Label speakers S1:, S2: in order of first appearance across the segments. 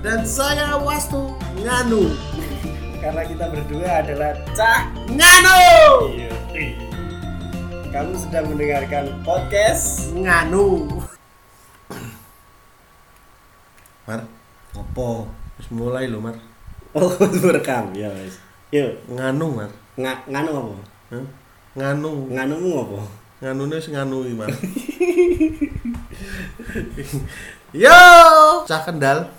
S1: dan saya Wastu Nganu.
S2: Karena kita berdua adalah Cah
S1: Nganu.
S2: Kamu sedang mendengarkan podcast
S1: Nganu.
S3: Mar, opo? Wis mulai lho, Mar.
S2: Oh, merekam ya wis. Yo,
S3: Nganu, Mar.
S2: nga- nganu apa?
S3: Hah? Nganu.
S2: Nganumu apa?
S3: Nganune wis nganui, Mar. Yo, cah kendal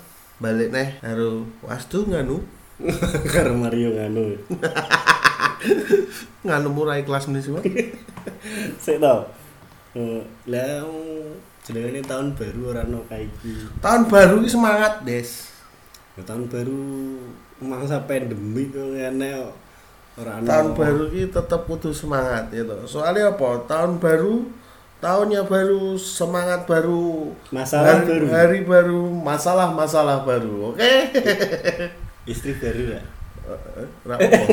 S3: balik neh karo Wastu nganu.
S2: Karena Mario nganu.
S3: Nganu murai kelas nih semua.
S2: Sik to. Eh, Lah jenenge tahun baru ora ono kae iki.
S3: Tahun baru ini semangat, Des.
S2: Ya, tahun baru masa pandemi kok ngene kok. ora ono.
S3: Tahun baru ini tetap kudu semangat ya toh. Soalnya apa? Tahun baru tahunnya baru, semangat baru,
S2: Masalah
S3: hari,
S2: baru.
S3: hari baru, masalah-masalah baru. Oke.
S2: istri baru ya.
S3: Eh, ra apa.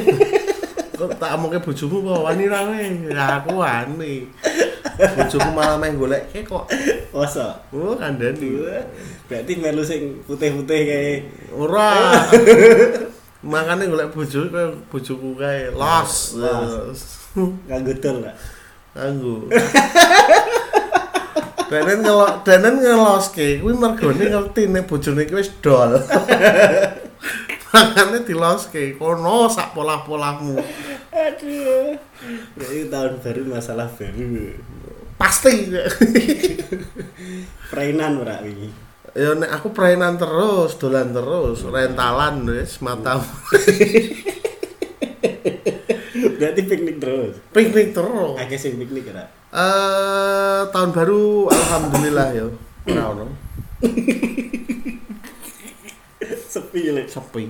S3: Kok tak amoknya bojomu kok wani ra kowe? Ya aku wani. Bojoku malah main golek e kok.
S2: Masa?
S3: Oh, kandani.
S2: Berarti melu sing putih-putih kae.
S3: Ora. Makane golek bojo kowe bojoku kae los.
S2: Los. Kanggo dol lah.
S3: Anggo. Danen ngelo danen ngeloske kuwi mergone ngerti nek bojone kuwi wis dol. Makane diloske kono sak pola-polamu.
S2: Aduh. Berarti tahun baru masalah baru.
S3: Pasti.
S2: Perainan ora wingi.
S3: Ya nek aku perainan terus, dolan terus, rentalan wis matamu.
S2: Berarti piknik terus.
S3: Piknik terus. Eh
S2: Akeh sing piknik ora.
S3: tahun baru alhamdulillah ya. Ora ono.
S2: Sepi lek.
S3: Sepi.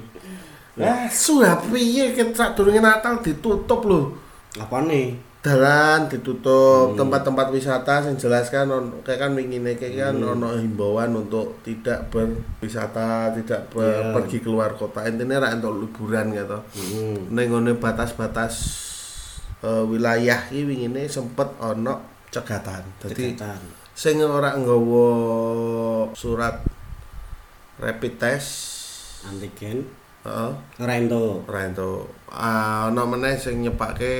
S3: Lah sudah piye kita durunge Natal ditutup lho.
S2: Apa nih?
S3: Dalan ditutup, tempat-tempat wisata sing jelaskan on, kayak kan wingine kayak kan ono himbauan untuk tidak berwisata, tidak ber-
S2: Iya.
S3: pergi keluar kota. Intinya ra entuk liburan gitu.
S2: Hmm.
S3: ning ngene batas-batas eh, wilayah iki wingine sempet ana cegatan. Dadi
S2: Cekatan.
S3: sing ora nggawa surat rapid test
S2: Antigen.
S3: heeh
S2: Ora ento.
S3: ora ento. Ah, ana meneh sing nyepake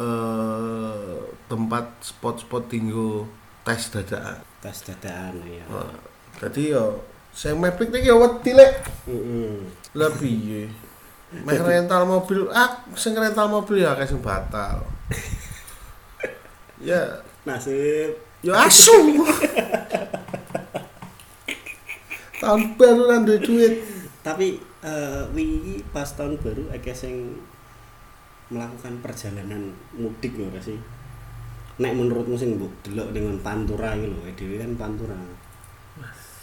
S3: eh, tempat spot-spot tinggo tes dadakan.
S2: Tas dadakan ya.
S3: Heeh. Dadi yo sing mepik iki yo wedi lek.
S2: Heeh.
S3: Lah piye? Meh rental mobil, ah sing rental mobil ya akeh sing batal. ya,
S2: Nasib.
S3: ya asu. Tahun baru nang duwe duit.
S2: Tapi eh, wingi pas tahun baru akeh sing melakukan perjalanan mudik ora sih? Nek menurutmu sing mbok delok dengan Pantura iki lho, eh, dhewe kan Pantura.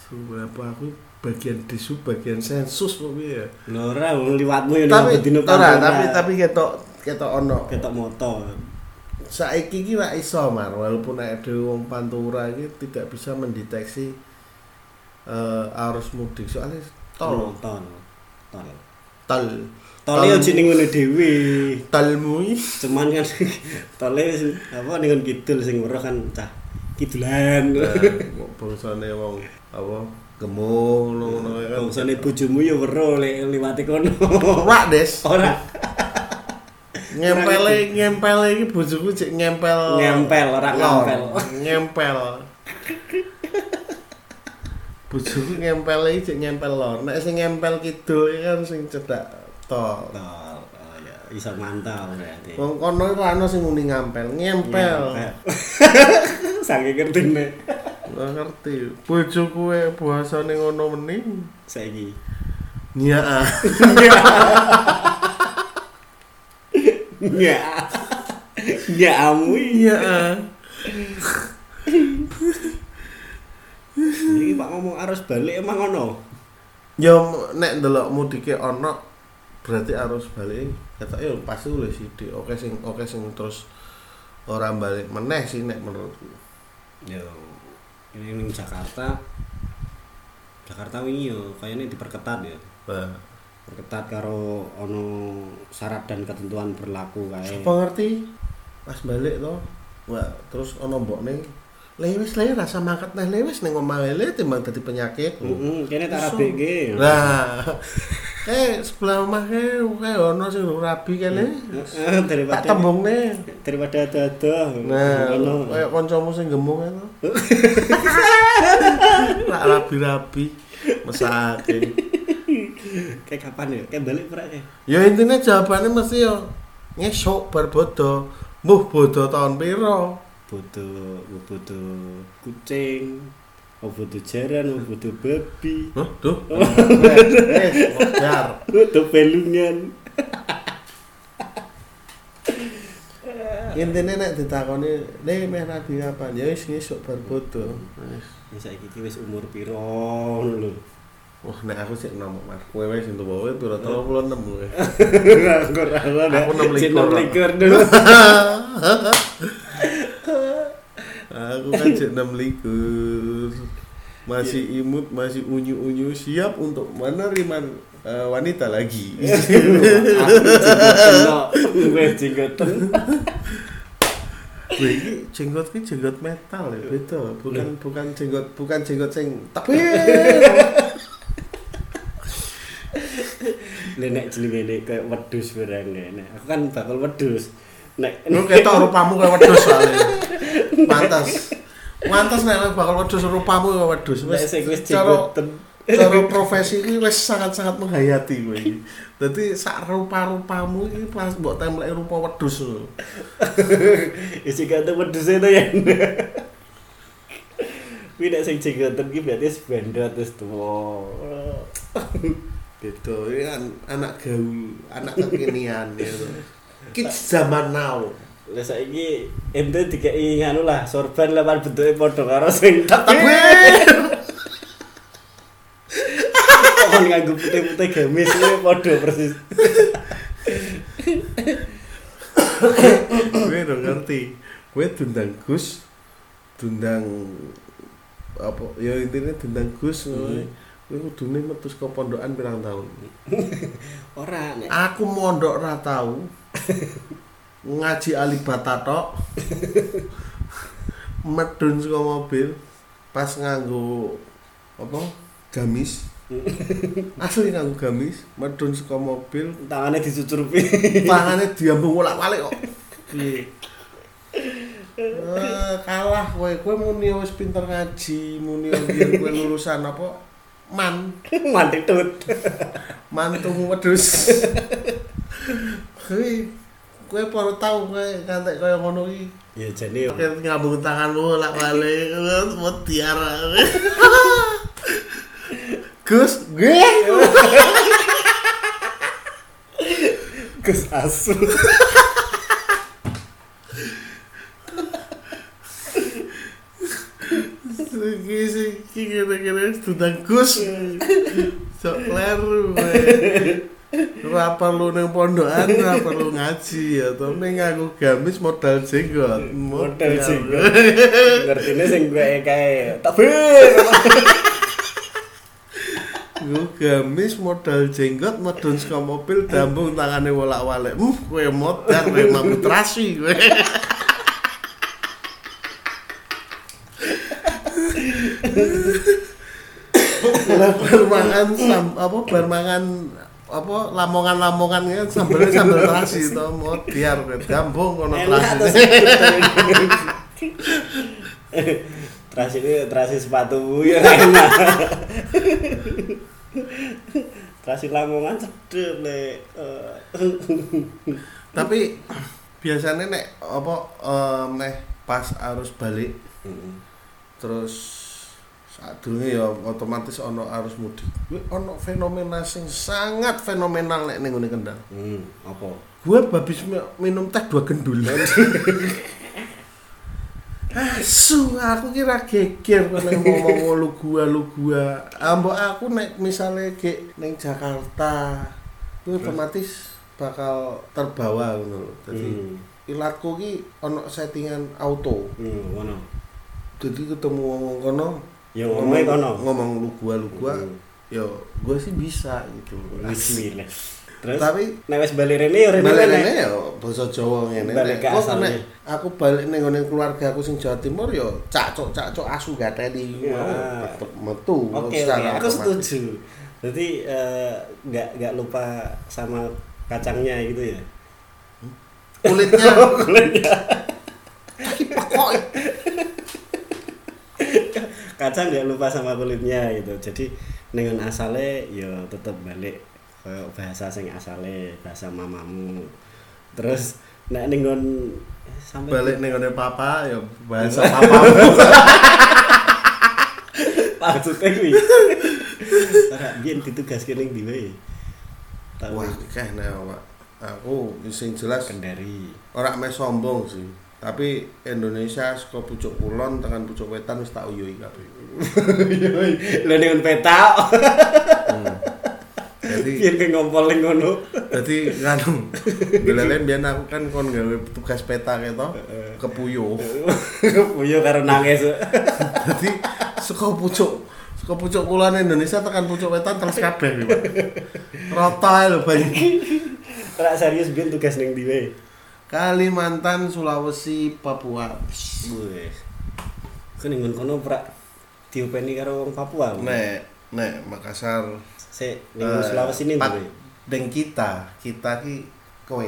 S3: Berapa aku bagian disu, bagian sensus kok piye ya.
S2: Lho ora wong liwatmu ya
S3: Tapi
S2: dino
S3: ora, tapi tapi ketok ketok ono.
S2: ketok moto.
S3: Saiki iki ra iso mar, walaupun nek dhewe wong pantura iki tidak bisa mendeteksi eh, arus mudik soalnya tol
S2: Moto. Tol.
S3: tol
S2: Tol yo jeneng ngene dhewe.
S3: talmui
S2: Cuman kan tole sing- apa dengan kidul sing weruh kan cah kidulan.
S3: Eh, bangsane wong apa gemuk ngono kan
S2: Bangsane bojomu yo weruh lek liwati kono.
S3: ora des
S2: Ora
S3: ngempele ngempele iki bojoku cek ngempel
S2: Ngempel, ora
S3: Lor.
S2: ngempel.
S3: ngempel bojoku ngempele iki cek ngempel lor nek sing ngempel kidul iki kan sing cedak tol
S2: Tol. Oh, ya. Bisa mantau berarti.
S3: wong kono ora ono sing muni ngampel ngempel
S2: Saking ngerti nih.
S3: ora ngerti bojoku e bahasane ngono meni
S2: Saiki.
S3: Nya ah.
S2: Ya. Ya amui.
S3: Nya ah.
S2: Iki Pak ngomong arus balik emang ono.
S3: Ya m- nek ndelok mudike ana berarti arus balik ketoke ya pasti oleh sithik. Oke sing oke sing terus ora balik meneh sih nek menurutku.
S2: Yo. Ini ning Jakarta. Jakarta wingi yo kayaknya diperketat ya.
S3: Nah,
S2: Perketat karo ono syarat dan ketentuan berlaku kae.
S3: apa ngerti pas balik to? Wah, terus ana mbokne lewis lewis rasa mangkat nah lewis neng omah lele timbang dadi penyakit lho.
S2: Heeh, kene tak
S3: Iso.
S2: rabi iki.
S3: Nah, eh sebelah rumah ke, kayak ono sing rabi kene.
S2: Heeh,
S3: Tak
S2: Eh, daripada
S3: tembungne.
S2: daripada dadah.
S3: Nah,
S2: Ngono.
S3: kayak kancamu sing gemuk kan. Rak rabi-rabi mesake.
S2: kayak kapan ya? Kayak balik pura kayak.
S3: Ya intinya jawabannya mesti yo ngesok bar bodo. Mbuh bodo tahun piro?
S2: Butuh, butuh kucing, oh butuh jaran, oh butuh babi,
S3: Hah, tuh. Eh, wajar.
S2: butuh pelungan.
S3: Intinya nek ditakoni, "Le meh rabi kapan?" Ya wis ngesok bar bodo. Wis.
S2: Ya saiki iki wis umur piro ngono lho.
S3: Wah, nek aku sih nomor mas, kowe wis itu bawa piro tolong puluh enam kowe.
S2: Aku ora ora.
S3: Aku enam
S2: Cek
S3: likur.
S2: enam likur dulu.
S3: Aku kan cek enam likur. Masih
S2: Iya.
S3: imut, masih unyu-unyu, siap untuk menerima eh, wanita lagi.
S2: Gue jenggot.
S3: Wih, ini jenggot ini jenggot metal ya, beda. Bukan
S2: Iya.
S3: bukan jenggot, bukan jenggot sing tapi
S2: Lha nek jenenge kayak wedhus barang nek. Aku kan bakal wedhus. Nek
S3: lu ketok rupamu kayak wedhus soalnya. Mantas. Mantas nek bakal wedhus rupamu kayak wedhus.
S2: nek sing wis
S3: cara-
S2: jenggoten.
S3: cara profesi ini wes sangat-sangat menghayati gue ini. Jadi sak rupa-rupamu ini pas buat template rupa wedus lo.
S2: Isi kata wedhus itu ya. Kuwi nek sing jenggoten ki berarti wis bandot wis tuwa.
S3: Gitu, ini kan anak gaul, anak kekinian gitu. Kids zaman now.
S2: Lah saiki ente dikeki anu lah sorban lah pan bentuke padha karo sing
S3: Tapi
S2: tapi kon nganggo putih-putih gamis kuwi padha persis.
S3: gue udah ngerti. Gue dundang Gus, dundang apa? Ya intinya dundang Gus.
S2: Hmm.
S3: Gue kudune metu ke pondokan pirang tahun.
S2: Ora nek
S3: Aku mondok ra tau. ngaji Alibata tok. Medun saka mobil pas nganggo apa? Gamis. Asli nganggo gamis, medun saka mobil,
S2: tangane dicucurupi.
S3: tangannya diambung bolak-balik kok. Piye? Eh, kalah kowe kowe muni wis pinter ngaji, muni biyen kowe lulusan apa? Man.
S2: Mati tut.
S3: mantung wedhus. Kuwi kowe perlu tahu kowe kantek kaya ngono iki.
S2: Ya jane
S3: Kowe ngambung tanganmu lak balik terus mutiara. Gus, gue
S2: Gus asu.
S3: iki sih iki kira-kira sedang Gus. Sok leru kowe. Ora perlu ning pondokan, ora perlu ngaji ya. Tapi ngaku gamis modal jenggot.
S2: Modal
S3: Mutiara.
S2: jenggot. Ngertine sing gue kae. Tapi
S3: Nggo gamis modal jenggot medun saka mobil dambung tangane wolak-walik. Uh, kowe modar kowe mampu terasi kowe. Lah bar mangan sam- apa bar mangan apa lamongan-lamongan kan sambelnya sambel terasi to modiar kowe dambung kono
S2: enak to.
S3: terasi.
S2: Terasi ini terasi sepatu ya enak. Terasi lamongan sedep nek.
S3: Tapi biasanya nek apa em, nek pas arus balik terus saat dulu ya otomatis ono arus mudik gue ono fenomena sing sangat fenomenal nek ning ngene kendal
S2: Hmm, apa?
S3: gue babis mi- minum teh dua gendul asu aku kira geger kalau ngomong lu gua lu gua ambo aku nek misalnya ke neng Jakarta gue otomatis bakal terbawa gitu loh jadi
S2: Hmm.
S3: ilatku ki ono settingan auto
S2: Hmm, ngono.
S3: jadi ketemu ngomong kono
S2: Ya ngomongnya kono.
S3: ngomong lu gua lu gua
S2: Hmm.
S3: yo gua sih bisa gitu
S2: Bismillah. Terus
S3: Tapi
S2: nek wis bali rene ya rene.
S3: balik
S2: Nek.
S3: ini ya basa Jawa ngene.
S2: Balik ke
S3: Nek, kok
S2: asalnya.
S3: nek aku balik ning ngene keluarga aku sing Jawa Timur ya cacok cacok asu gateli
S2: Ya.
S3: mau tetep metu
S2: Oke, oke,
S3: secara
S2: aku
S3: otomatis.
S2: setuju. Berarti eh, nggak nggak lupa sama kacangnya gitu ya.
S3: Kulitnya
S2: Kulitnya.
S3: kok
S2: Kacang nggak lupa sama kulitnya gitu. Jadi dengan asale ya tetap balik kayak bahasa sing asale, bahasa mamamu. Terus nek eh, ningon sampai
S3: balik ning ngene papa ya bahasa papamu.
S2: maksudnya kuwi. Ora biyen ditugaske ning ndi wae. Tapi
S3: Wah, akeh nek Pak. Aku sing jelas
S2: Kendari.
S3: ora meh sombong sih. Tapi Indonesia saka pucuk kulon tekan pucuk wetan wis tak uyuhi kabeh.
S2: Lah ningon peta
S3: Jadi
S2: biyen ke ngompol ning ngono.
S3: jadi nganu. Belalen biyen aku kan kon gawe tugas peta keto kepuyo.
S2: Puyo karo nangis.
S3: Jadi saka pucuk saka pucuk kulon Indonesia tekan pucuk wetan terus kabeh iki, Pak. Rata ae lho banyu.
S2: Ora serius biyen tugas ning ndi wae.
S3: Kalimantan, Sulawesi, Papua.
S2: Wes. Ku ning kono pra diopeni karo wong Papua.
S3: Nek nek Makassar
S2: Sik ning
S3: Eh,
S2: Sulawesi ning
S3: Pak,
S2: ndi wae.
S3: Deng kita, kita ki kowe,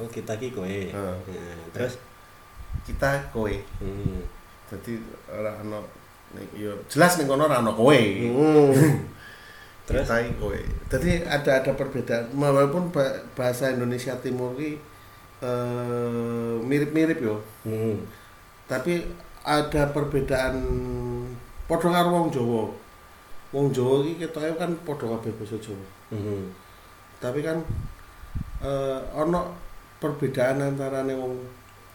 S2: Oh kita ki kowe.
S3: Heeh.
S2: Nah, Terus
S3: kita kowe.
S2: hmm.
S3: Jadi ora ono nek yo jelas ning kono ora ono kowe.
S2: Terus
S3: Kita ki kowe. Jadi ada ada perbedaan walaupun ba- bahasa Indonesia Timur ki eh, mirip-mirip yo.
S2: hmm.
S3: Tapi ada perbedaan padha karo wong Jawa. Wong Jawa ki ketoke kan padha kabeh basa Jawa.
S2: Hmm.
S3: tapi kan eh ono perbedaan antara wong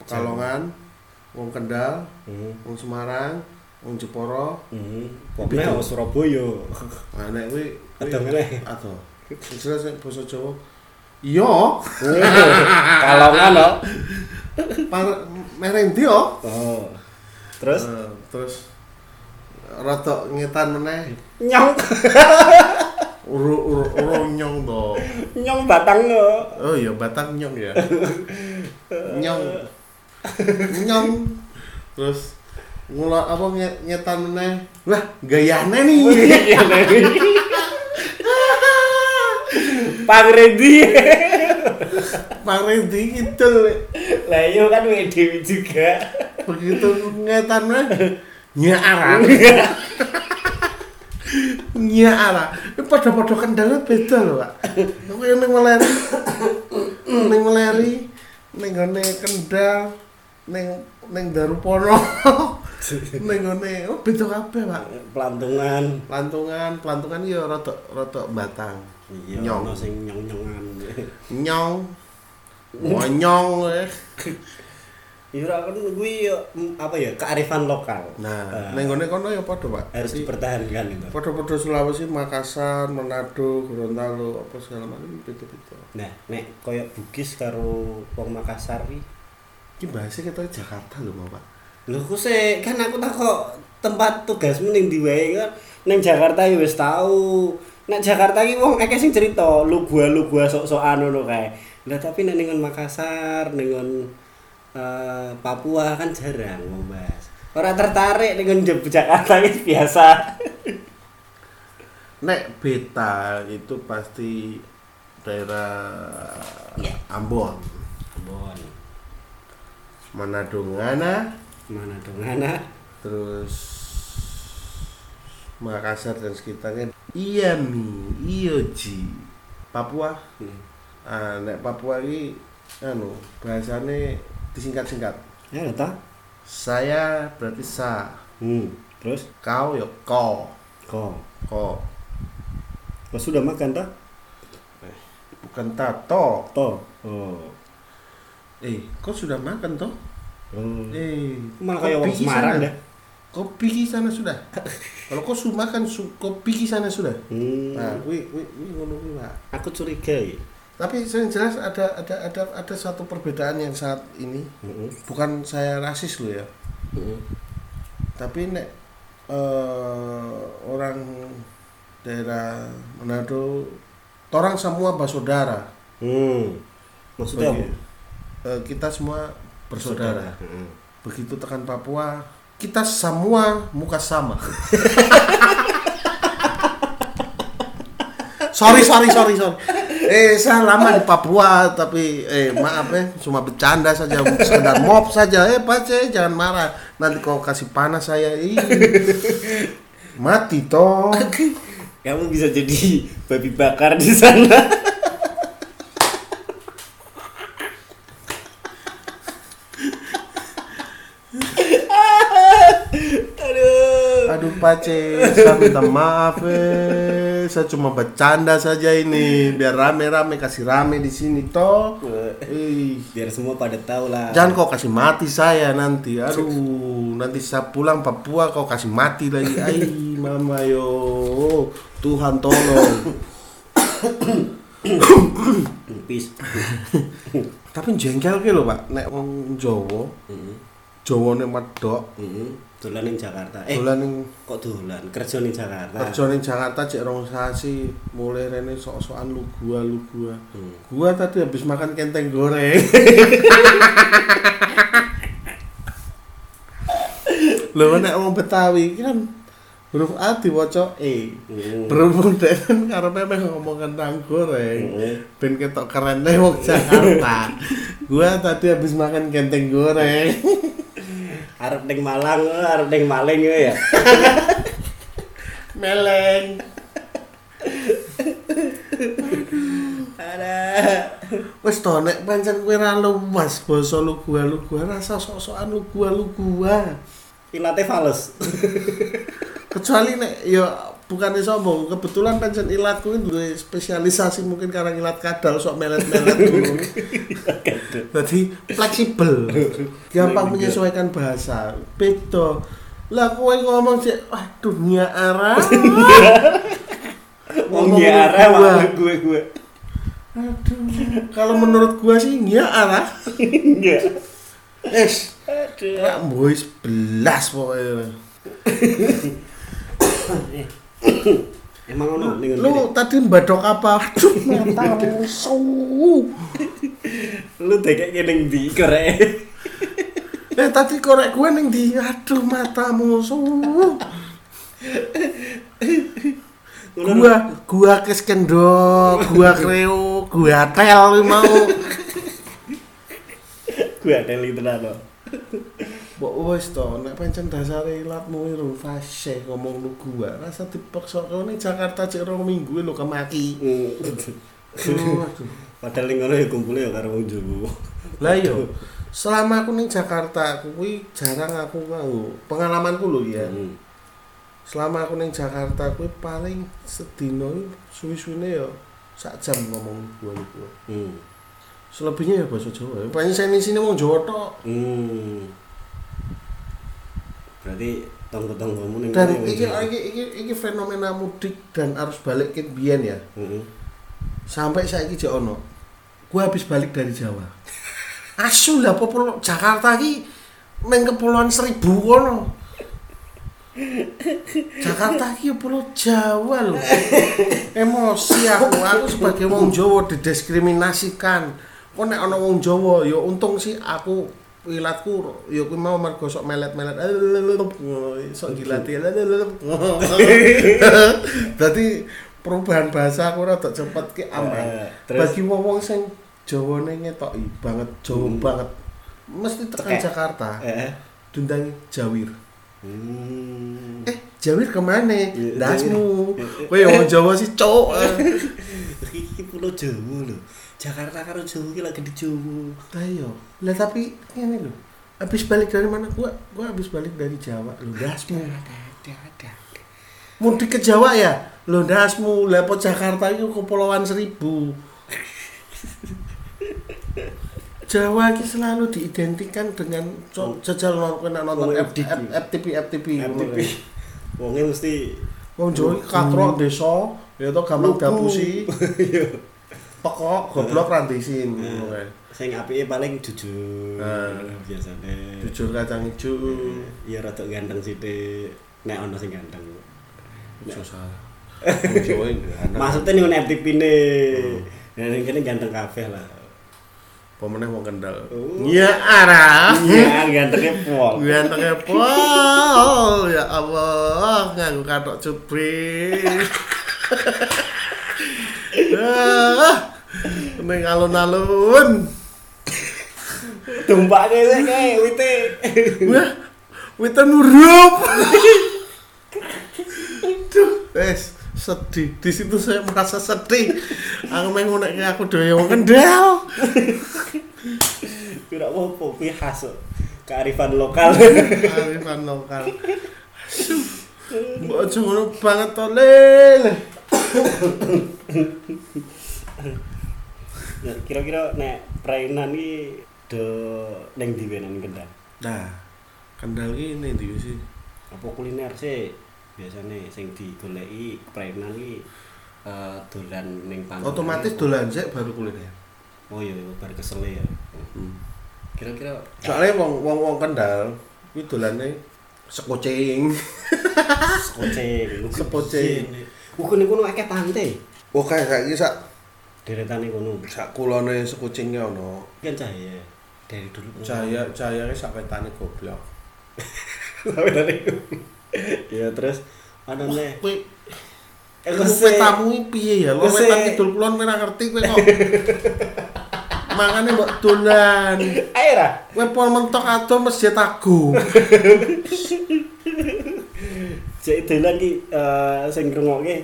S3: Pekalongan, wong Kendal,
S2: Hmm.
S3: wong Semarang, wong Jeporo.
S2: Hmm. Pokoknya
S3: Beda.
S2: wong Surabaya.
S3: Nah Ah, nek kuwi
S2: Ada meneh.
S3: Ato. Jelas nek basa Jawa. Iya,
S2: Kalau ngono.
S3: par merendi yo.
S2: Oh. Terus
S3: Eh, terus rada ngetan meneh.
S2: nyong
S3: Uru uru uru nyong to.
S2: nyong batang lo.
S3: Oh iya batang nyong ya. nyong. nyong. Terus ngula apa nye- nyetan meneh. Lah, gayane nih.
S2: Pang Randy.
S3: Parendi gitu. Le.
S2: Lah iya kan we dewi juga.
S3: Begitu nyetan meneh. Nyaara. Nyaara. Ini pada-pada kendala beda lho, Pak. Aku yang ning meleri. Ning meleri. Ning gone kendal. Ning ning Darupono. Ning gone oh beda kabeh, Pak.
S2: Pelantungan.
S3: Pelantungan, pelantungan ya rada rada batang.
S2: Iya,
S3: Nyong.
S2: ono sing nyong-nyongan.
S3: Nyong. Monyong. eh.
S2: Iya ora kan kuwi ya, mm, apa ya kearifan lokal.
S3: Nah,
S2: Eh,
S3: ning gone kono ya padha, Pak.
S2: harus
S3: Jadi,
S2: dipertahankan itu.
S3: Padha-padha Sulawesi, Makassar, Manado, Gorontalo, apa segala macam beda-beda.
S2: Nah, nek koyo Bugis karo wong Makassar iki.
S3: Ki bahasa kita Jakarta lho, Pak.
S2: Lho ku sik, kan aku tak kok tempat tugasmu ning ndi wae kan ning Jakarta ya wis tau. Nek Jakarta iki wong akeh sing cerita lu gua lu gua sok-sokan ngono kae. Lah tapi nek ning Makassar, ning eh, Papua kan jarang wong bahas. Ora tertarik dengan Jakarta itu biasa.
S3: Nek beta itu pasti daerah
S2: Iya.
S3: Ambon,
S2: Ambon.
S3: Manado, Ngana,
S2: Mana dong anak?
S3: terus Makassar dan sekitarnya Iya, Iami, Ioji, Papua. Ah, nek Papua ini anu bahasane disingkat-singkat.
S2: Ya lho toh.
S3: Saya berarti sa,
S2: Hmm. Terus
S3: kau ya ko,
S2: kok
S3: ko.
S2: kok sudah makan toh?
S3: Bukan tato.
S2: Toh. Oh.
S3: Eh, kau sudah makan toh?
S2: Oh.
S3: Eh,
S2: Malah kayak orang
S3: kopi
S2: Semarang
S3: sana.
S2: dah.
S3: Kopi ki sana sudah. Kalau kau su makan su, kopi ki sana sudah.
S2: Hmm.
S3: Nah, kuwi kuwi kuwi ngono kuwi, Pak.
S2: Aku curiga ya.
S3: Tapi saya jelas ada ada ada ada satu perbedaan yang saat ini
S2: Heeh.
S3: bukan saya rasis lo ya.
S2: Heeh.
S3: Tapi nek eh, orang daerah Manado Torang semua bersaudara.
S2: Hmm. Maksudnya apa? Hmm.
S3: Bagi- eh, kita semua Oh bersaudara.
S2: Heeh.
S3: Begitu tekan Papua, kita semua muka sama. sorry, sorry, sorry, sorry. Eh, saya lama di Papua, tapi eh maaf ya, cuma bercanda saja, sekedar mob saja. Eh, Pace, jangan marah. Nanti kau kasih panas saya. Ih. Mati toh.
S2: Kamu bisa jadi babi bakar di sana. Aduh.
S3: Aduh Pace, saya minta maaf eh. Saya cuma bercanda saja ini. Biar rame-rame kasih rame di sini toh. Ih.
S2: Biar semua pada tahu lah.
S3: Jangan kau kasih mati saya nanti. Aduh, nanti saya pulang Papua kau kasih mati lagi. Ai, mama yo. Tuhan tolong.
S2: Peace.
S3: Tapi jengkel ke lo, Pak. Nek wong Jawa,
S2: Heeh.
S3: Jawane medok,
S2: Heeh. Hmm. Dolan ning Jakarta. Eh,
S3: dolan ning
S2: kok dolan? Kerja ning Jakarta.
S3: kerja ning Jakarta cek rong sasi, mulai rene sok-sokan lu gua lu gua.
S2: Hmm.
S3: Gua tadi habis makan kenteng goreng. Lho nek wong Betawi iki kan huruf A diwaca E.
S2: Hmm.
S3: Berhubung dek kan karepe meh ngomong kentang goreng.
S2: Heeh.
S3: Ben ketok keren deh wong Jakarta. Gua tadi habis makan kenteng goreng.
S2: Arep ning Malang, arep ning Maling ya.
S3: Meleng.
S2: Ada.
S3: Wes to nek pancen kowe ra lumas basa lu gua lu gua rasa sok-sokan lu gua lu gua.
S2: Pilate fales.
S3: kecuali nek ya bukannya sombong kebetulan pensiun ilatku ini duwe spesialisasi mungkin karena ilat kadal sok melet melet dulu jadi fleksibel gampang menyesuaikan bahasa beda lah kowe ngomong sih wah dunia arah
S2: Wong
S3: Ngomong
S2: diare
S3: gua.
S2: wae ya, gue gue.
S3: aduh kalau menurut gua sih nia arah
S2: Enggak.
S3: es
S2: Aduh.
S3: rak boys belas pokoknya
S2: Emang ono ning
S3: lu tadi badok apa aduh mata musuh
S2: lu dekek ning ndi korek.
S3: Eh tadi korek gue neng di aduh matamu suhu. Gua gua kes kendok, gua kreo, gua tel lu mau.
S2: Gue ada link tenan lo.
S3: Mbok wis to, nek pancen dasare ilatmu iru fasih ngomong lu gua. Rasa dipaksa kene Jakarta cek rong minggu lu kemaki.
S2: Hmm.
S3: Aduh, Oh, aduh.
S2: Padahal ning ngono ya kumpule ya karo wong Jawa.
S3: Lah yo, selama aku ning Jakarta, aku kuwi jarang aku mau. Pengalamanku lho ya.
S2: Hmm.
S3: selama aku neng Jakarta aku paling sedino suwi-suwine ya sak jam ngomong gua iku.
S2: Hmm.
S3: Selebihnya ya bahasa Jawa. Paling saya di sini wong Jawa tok.
S2: Hmm. Berarti tonggo-tonggomu ning
S3: Dan
S2: kono Hmm, wong
S3: iki,
S2: Jawa.
S3: iki iki iki fenomena mudik dan arus balik kin biyen ya.
S2: Heeh.
S3: Sampai saiki jek ono. Gua habis balik dari Jawa. Asu lah apa pulau Jakarta iki meng kepulauan seribu kono. Jakarta iki ya pulau Jawa lho. Emosi aku, aku sebagai wong Jawa didiskriminasikan. Kok nek ana wong Jawa ya untung sih aku wilatku ya kuwi mau mergo sok melet-melet. Sok gilati. Dadi perubahan bahasa aku rada cepet ki
S2: Eh,
S3: aman.
S2: terus?
S3: Bagi wong-wong sing Jawane ngetoki banget, Jawa
S2: Hmm.
S3: banget. Mesti tekan
S2: Tekek.
S3: Jakarta,
S2: Eh.
S3: dundangi Jawir.
S2: Hmm.
S3: Eh, Jawir kemana?
S2: Iya,
S3: Dasmu. Kowe wong Jawa sih, cok.
S2: Iki pulau Jawa lho. Jakarta karo Jawa iki lagi di Jawa.
S3: Lah iya. Lah tapi ini loh. Habis balik dari mana? Gua gua habis balik dari Jawa. Loh, dasmu. Mudik ke Jawa ya? Loh, dasmu. Lah po Jakarta itu kepulauan seribu. Jawa ini selalu diidentikan dengan co- jajal nonton kena
S2: Oh,
S3: nonton F-
S2: FDP.
S3: F- FTP FTP.
S2: FTP. Wonge mesti
S3: Wong Jawa iki katrok desa, ya to gampang
S2: Lugu.
S3: dapusi. Pekok goblok randisin.
S2: Iya.
S3: ngono kae.
S2: eh, sing apike paling jujur
S3: Nah.
S2: biasane.
S3: Jujur kacang ijo.
S2: Ya, Iya rada ganteng sithik. Nek ana sing ganteng.
S3: Susah. Wong Jawa iki anak.
S2: Maksudnya nih FTP nih. Nah, ini kene ganteng kabeh lah.
S3: Pemeneh wong Kendal.
S2: Oh.
S3: Ya arah.
S2: Iya, gantengnya pol.
S3: Gantengnya pol. Ya Allah, nganggo katok cupri. Ah, Neng alun-alun.
S2: Tumpaknya sih kayak wite.
S3: Wah, Ya, witan murup. Duh, wes sedih. Di situ saya merasa sedih. Aku main ngonek aku doyo wong kendal.
S2: Tidak apa-apa, kuwi khas kok. kearifan lokal.
S3: Arifan lokal. Asu. Mbok aja ngono banget to, Lil.
S2: Nah, kira-kira nek perainan iki do ning ndi wae nang Kendal.
S3: Nah, kendal ki ini ndi sih?
S2: Apa kuliner sih biasanya sing digoleki perainan iki eh, dolan ning pantai.
S3: Otomatis dolan sik baru kuliner.
S2: Oh iya, iya, bar kesel ya.
S3: Hmm.
S2: Kira-kira
S3: Soalnya wong wong wong kendal iki dolane sekocing.
S2: sekoceng,
S3: Sekoceng.
S2: Kuwi ning kono akeh pantai.
S3: Wah, kayak saiki sak
S2: Deretane kono.
S3: sak kulone sekocing ki ono.
S2: Kan cahaya. Dari dulu
S3: Jaya jaya ki sak petane goblok.
S2: Sampai dari Ya terus ana nih.
S3: Kuwi
S2: Eh,
S3: Aku
S2: kose-
S3: kue tamu ini piye ya? Lo
S2: Kose-
S3: kue tamu kidul kulon kue ra ngerti kue kok. Mangane mbok dolan.
S2: Air ah.
S3: Kue pol mentok atau masjid aku.
S2: Cek dolan ki eh, sing ngrungokke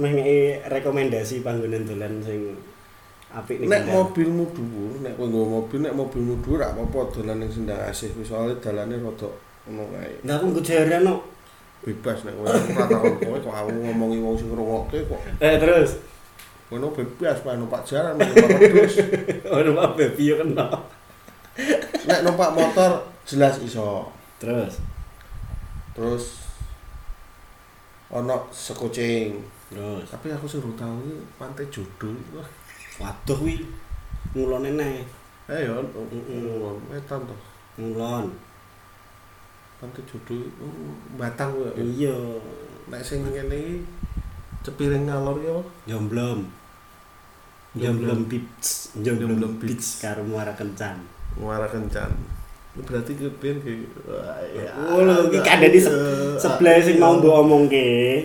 S2: meh ngeki rekomendasi panggonan dolan sing apik ning
S3: Nek
S2: Kendal.
S3: mobilmu dhuwur, nek kowe nggo mobil, nek mobilmu dhuwur ra apa-apa dolan ning sendang asih kuwi soalé dalane rada ono kae.
S2: Nah, aku ngejaran no.
S3: Bebas nek kowe aku ra takon kowe kok aku ngomongi wong sing ngrungokke kok
S2: Eh terus,
S3: ngono bebas pae numpak jalan numpak terus.
S2: ono apa babi yo kena.
S3: Nek numpak motor jelas iso.
S2: Terus.
S3: Terus ono sekocing.
S2: Terus.
S3: tapi aku sing tau iki pantai jodoh iku.
S2: Waduh kuwi ngulone neh.
S3: eh ya
S2: Mm-mm.
S3: wetan to
S2: Ngulon.
S3: pantai jodoh iku batang kok ya
S2: Iya.
S3: nek sing ngene iki cepiring ngalor ya
S2: Jomblom.
S3: Jomblom.
S2: Jomblom beach, jomblom
S3: Jomblom
S2: beach karo muara kencan.
S3: muara kencan Ini berarti ki ben ki Ya
S2: Oh, lho, iki kada di sebelah sing mau mbok omongke.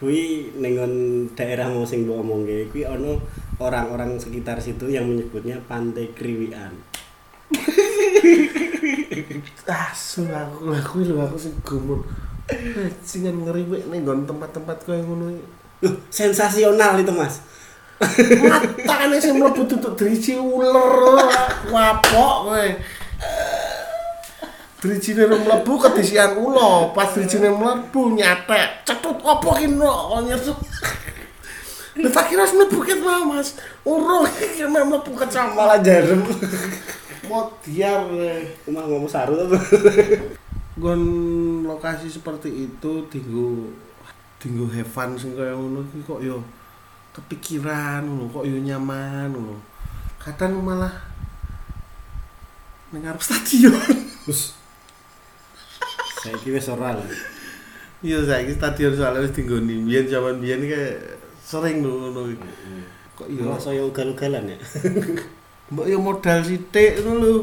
S2: Kuwi ning ngon daerah mau sing mbok omongke, kuwi ono orang-orang sekitar situ yang menyebutnya Pantai Kriwian.
S3: asu Ah, aku aku lho aku sing gumun Cingan ngeriwek nih gon tempat-tempat kau yang ngono ini.
S2: Loh, sensasional itu, Mas.
S3: Matane sing mlebu duduk driji uler. Wapok kowe. Drijine ora mlebu kedisian ulo, pas drijine mlebu nyatek. Cetut opo ki no kok nyesuk. Lah tak kira wis mlebu ket mau Mas. Ora iki mek mlebu ket sama
S2: Malah jarum.
S3: Modiar.
S2: Cuma ngomong saru apa?
S3: Gon lokasi seperti itu dinggo dinggo heaven sing kaya ngono iki kok yo kepikiran ngono kok yo nyaman ngono. Kadang malah ning arep stadion.
S2: Wis. Saiki wis ora lho.
S3: Iya saiki stadion soalnya wis dinggoni biyen zaman biyen kayak sering lho ngono iki. Kok yo
S2: Iya, saya ugal-ugalan ya.
S3: mbok yo modal sithik ngono lho.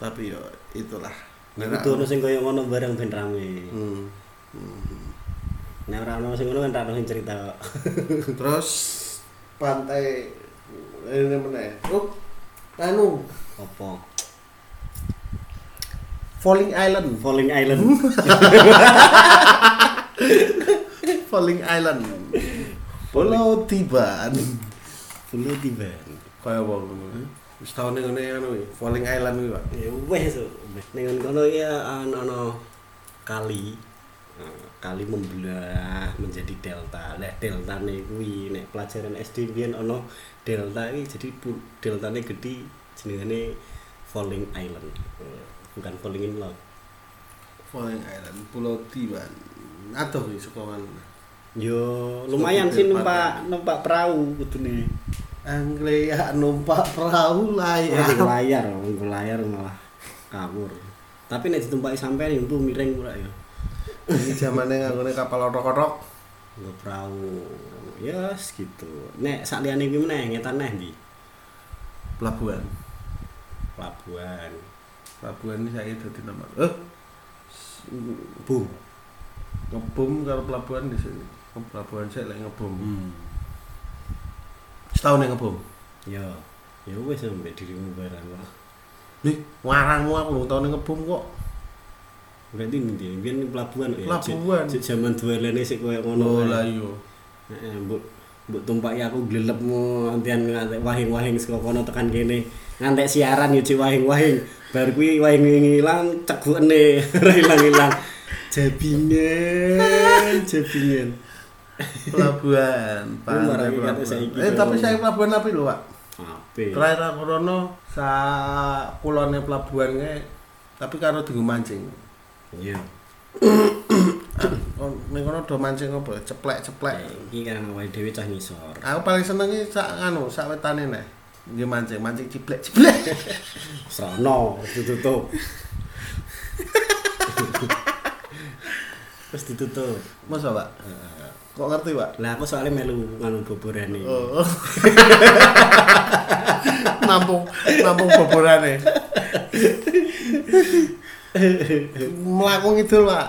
S3: Tapi yo itulah. Nek
S2: Kudu ono sing kaya ngono bareng ben rame.
S3: Hmm.
S2: Nek ora ono sing ngono kan tak ono sing cerita kok.
S3: terus pantai ini mana ya oh anu
S2: Apa?
S3: Falling Island
S2: Falling Island.
S3: Falling Island Pulau Tiban
S2: Pulau tiba.
S3: kaya apa wis tahun ini anu ya, Falling Island gitu pak
S2: Ya wes. Ning kono ya ono kali. Nah, kali membelah menjadi delta. Lah delta kuwi nek pelajaran SD biyen ono delta iki jadi pu- deltane gede jenengane Falling Island. Eh, Bukan Falling in Love.
S3: Falling Island Pulau Tiban atau di Sukawan
S2: Yo lumayan sih numpak numpak perahu kudune.
S3: Anglia ya, numpak perahu ya.
S2: Orang
S3: layar
S2: layar, orang layar malah kabur. Tapi nek ditumpaki sampean ya mpu miring pura ya.
S3: ini zamannya nggak kapal rokok-rok
S2: nggo perahu ya yes, gitu nek sak liyane kuwi meneh ngetan neh ndi
S3: pelabuhan
S2: pelabuhan
S3: pelabuhan ini saya jadi nama eh
S2: bu
S3: ngebom karo pelabuhan di sini pelabuhan saya lagi ngebom setahun yang ngebom
S2: ya ya wis sampe dirimu barang lah
S3: nih warangmu aku lu tahun yang ngebom kok
S2: berarti ndi biyen pelabuhan ya,
S3: Pelabuhan.
S2: jek- jek jaman duelene sik koyo ngono
S3: lo Oh, lah iya. yo
S2: Heeh, mbok mbok tumpaki aku glelepmu antian ngantek wahing-wahing saka kono tekan kene. Ngantek siaran yo cek wahing-wahing. Bar kuwi wahing ilang cegukne ora ilang-ilang. Jabingen, jabingen.
S3: pelabuhan
S2: marah
S3: pantai
S2: iki kata
S3: pelabuhan
S2: saiki
S3: eh tapi
S2: kalau-
S3: saya pelabuhan apa lo pak
S2: Ape.
S3: terakhir aku rono sa kulonnya pelabuhannya tapi karo tunggu mancing
S2: Iya.
S3: Oh, ning kono do mancing apa ceplek ceplek
S2: Iki kan awake dhewe cah ngisor.
S3: aku paling seneng iki sak anu sak wetane neh nggih mancing mancing ciplek ciplek
S2: Sono ditutup. Terus ditutup.
S3: masa pak kok ngerti pak
S2: Lah aku soalnya melu nganu boborane.
S3: Oh. nampung nampung boborane melaku ngidul pak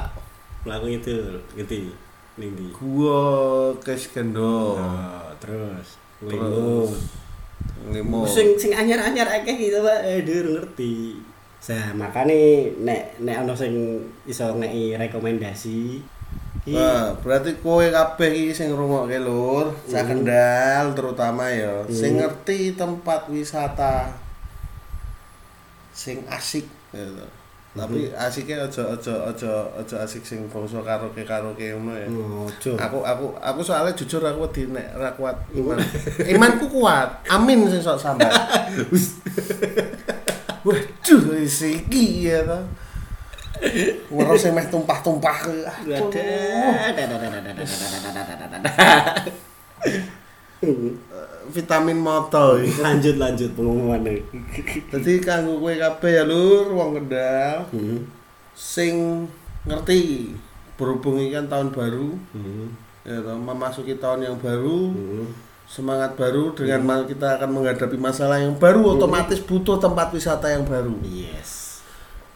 S2: Lah aku itu ngerti. Ning ndi?
S3: gua kes gendong
S2: Oh, terus
S3: Terus.
S2: lingo.
S3: limo
S2: Sing sing anyar-anyar akeh gitu Pak. Eh, dur ngerti. Nah, makane nek nek ana sing iso ngeki rekomendasi iki
S3: Wah, berarti kowe kabeh iki sing ngrungokke lur, sak Kendal terutama ya, sing ngerti tempat wisata sing asik gitu. Tapi asiknya aja aja aja aja asik sing bangsa karaoke karaoke ngono ya.
S2: ngojo.
S3: Aku aku aku soalnya jujur aku wedi nek ra kuat iman. Imanku kuat. Amin sing sok sambat. Waduh, isi iki ya ta. Weruh sing meh tumpah-tumpah. Aduh. vitamin moto iki.
S2: lanjut lanjut pengumuman nih.
S3: Dadi kanggo kowe kabeh ya Lur, wong Kendal
S2: Hmm.
S3: sing ngerti berhubung ini kan tahun baru
S2: Hmm.
S3: ya toh, memasuki tahun yang baru
S2: Hmm.
S3: semangat baru dengan ma- kita akan menghadapi masalah yang baru otomatis butuh tempat wisata yang baru
S2: Hmm. Yes.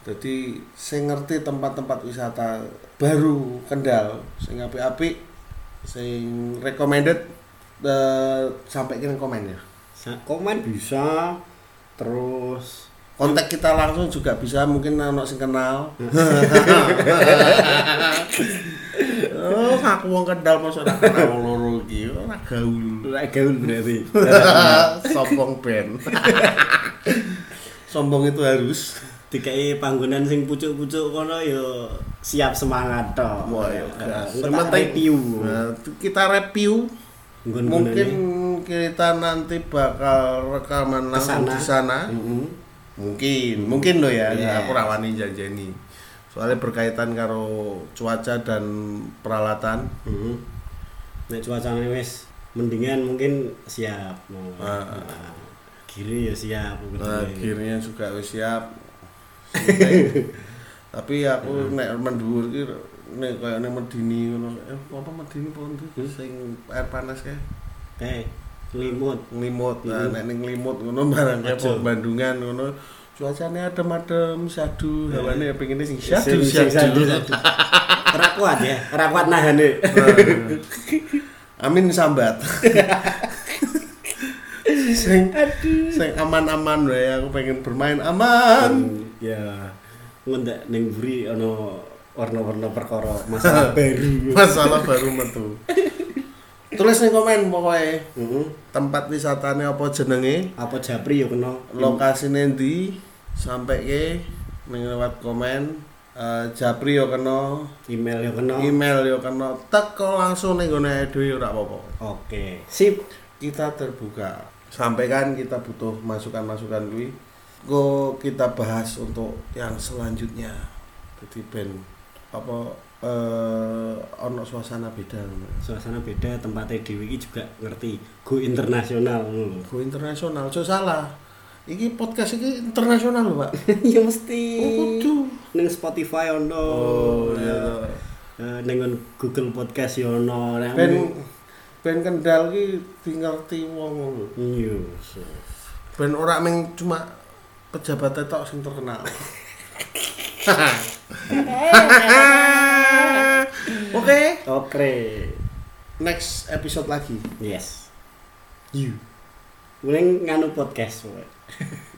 S3: jadi sing ngerti tempat-tempat wisata baru Kendal sing apik-apik sing recommended eh, sampai ke komen ya
S2: Sa- Komen bisa terus
S3: kontak
S2: Hmm.
S3: kita langsung juga bisa mungkin anak sing kenal oh aku wong kendal masa ora kenal wong loro iki ora gaul
S2: Ora gaul berarti.
S3: sombong ben sombong itu harus
S2: Dikai panggonan sing pucuk-pucuk kono yo siap semangat toh.
S3: Wah, ya,
S2: Eh,
S3: gas.
S2: engko tak
S3: Yang penting-
S2: review.
S3: Nah, kita review mungkin
S2: Mungkin
S3: kita nanti bakal rekaman
S2: Kesana.
S3: langsung di sana Iya.
S2: Mm-hmm.
S3: mungkin mungkin lo ya
S2: Iya.
S3: aku rawani janjeni soalnya berkaitan karo cuaca dan peralatan
S2: Heeh. Mm-hmm. Nek cuacane wis mendingan mungkin siap. Nah,
S3: Ah.
S2: nah, Kiri ya siap.
S3: Nah,
S2: Kiri.
S3: akhirnya juga wis siap Sintek. tapi aku nek mendhuwur iki nek kayane medini ngono eh apa medini apa ndi
S2: Hmm?
S3: Gus sing air panas kae
S2: Eh, limut.
S3: nglimut nah,
S2: Iya.
S3: nek ning nglimut ngono barang kae
S2: Aja.
S3: po Bandungan ngono cuacanya adem-adem syadu
S2: Iya.
S3: hawane ya pengennya sing
S2: Sing-
S3: syadu
S2: sing
S3: syadu
S2: syadu. Ora kuat ya, ora kuat nahane.
S3: Ah. amin sambat sing sing aman-aman wae aku pengen bermain aman
S2: Ya. Ngendak ning buri ana warna-warna perkara masalah baru.
S3: masalah baru metu Iya. Mm-hmm. tulis nih komen pokoknya
S2: Heeh.
S3: tempat wisatanya apa jenenge
S2: Apa japri yo kena.
S3: Mm. lokasi nanti sampai ke ning lewat komen Eh, japri yo kena
S2: Email yo kena.
S3: email yo kena teko langsung ning gone dhewe ora apa-apa
S2: Oke, sip.
S3: kita terbuka sampaikan kita butuh masukan-masukan kuwi go kita bahas untuk yang selanjutnya jadi ben apa eh ono suasana beda ngono.
S2: Suasana beda, tempatnya dewi iki juga ngerti. Go internasional ngono lho.
S3: go internasional so salah iki podcast iki internasional lho pak
S2: ya mesti
S3: Oh, kudu.
S2: ning Spotify ono
S3: oh iya
S2: eh, ning nggon Google Podcast yo ono nek
S3: Ben ben kendal ki dingerti wong lho.
S2: Iya, so.
S3: Ben ora ming cuma pejabat tok sing terkenal. Oke,
S2: Oke.
S3: next episode lagi.
S2: Yes. You. Mending nganu podcast wae.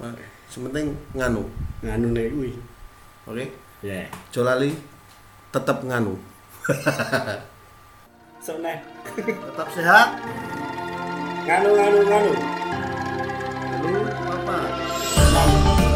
S3: Nah, Sementing nganu.
S2: Nganu nek kuwi.
S3: Oke.
S2: Ya.
S3: Jolali tetap nganu.
S2: So nek
S3: Tetap sehat.
S2: nganu nganu nganu.
S3: Nganu apa?
S2: nganu.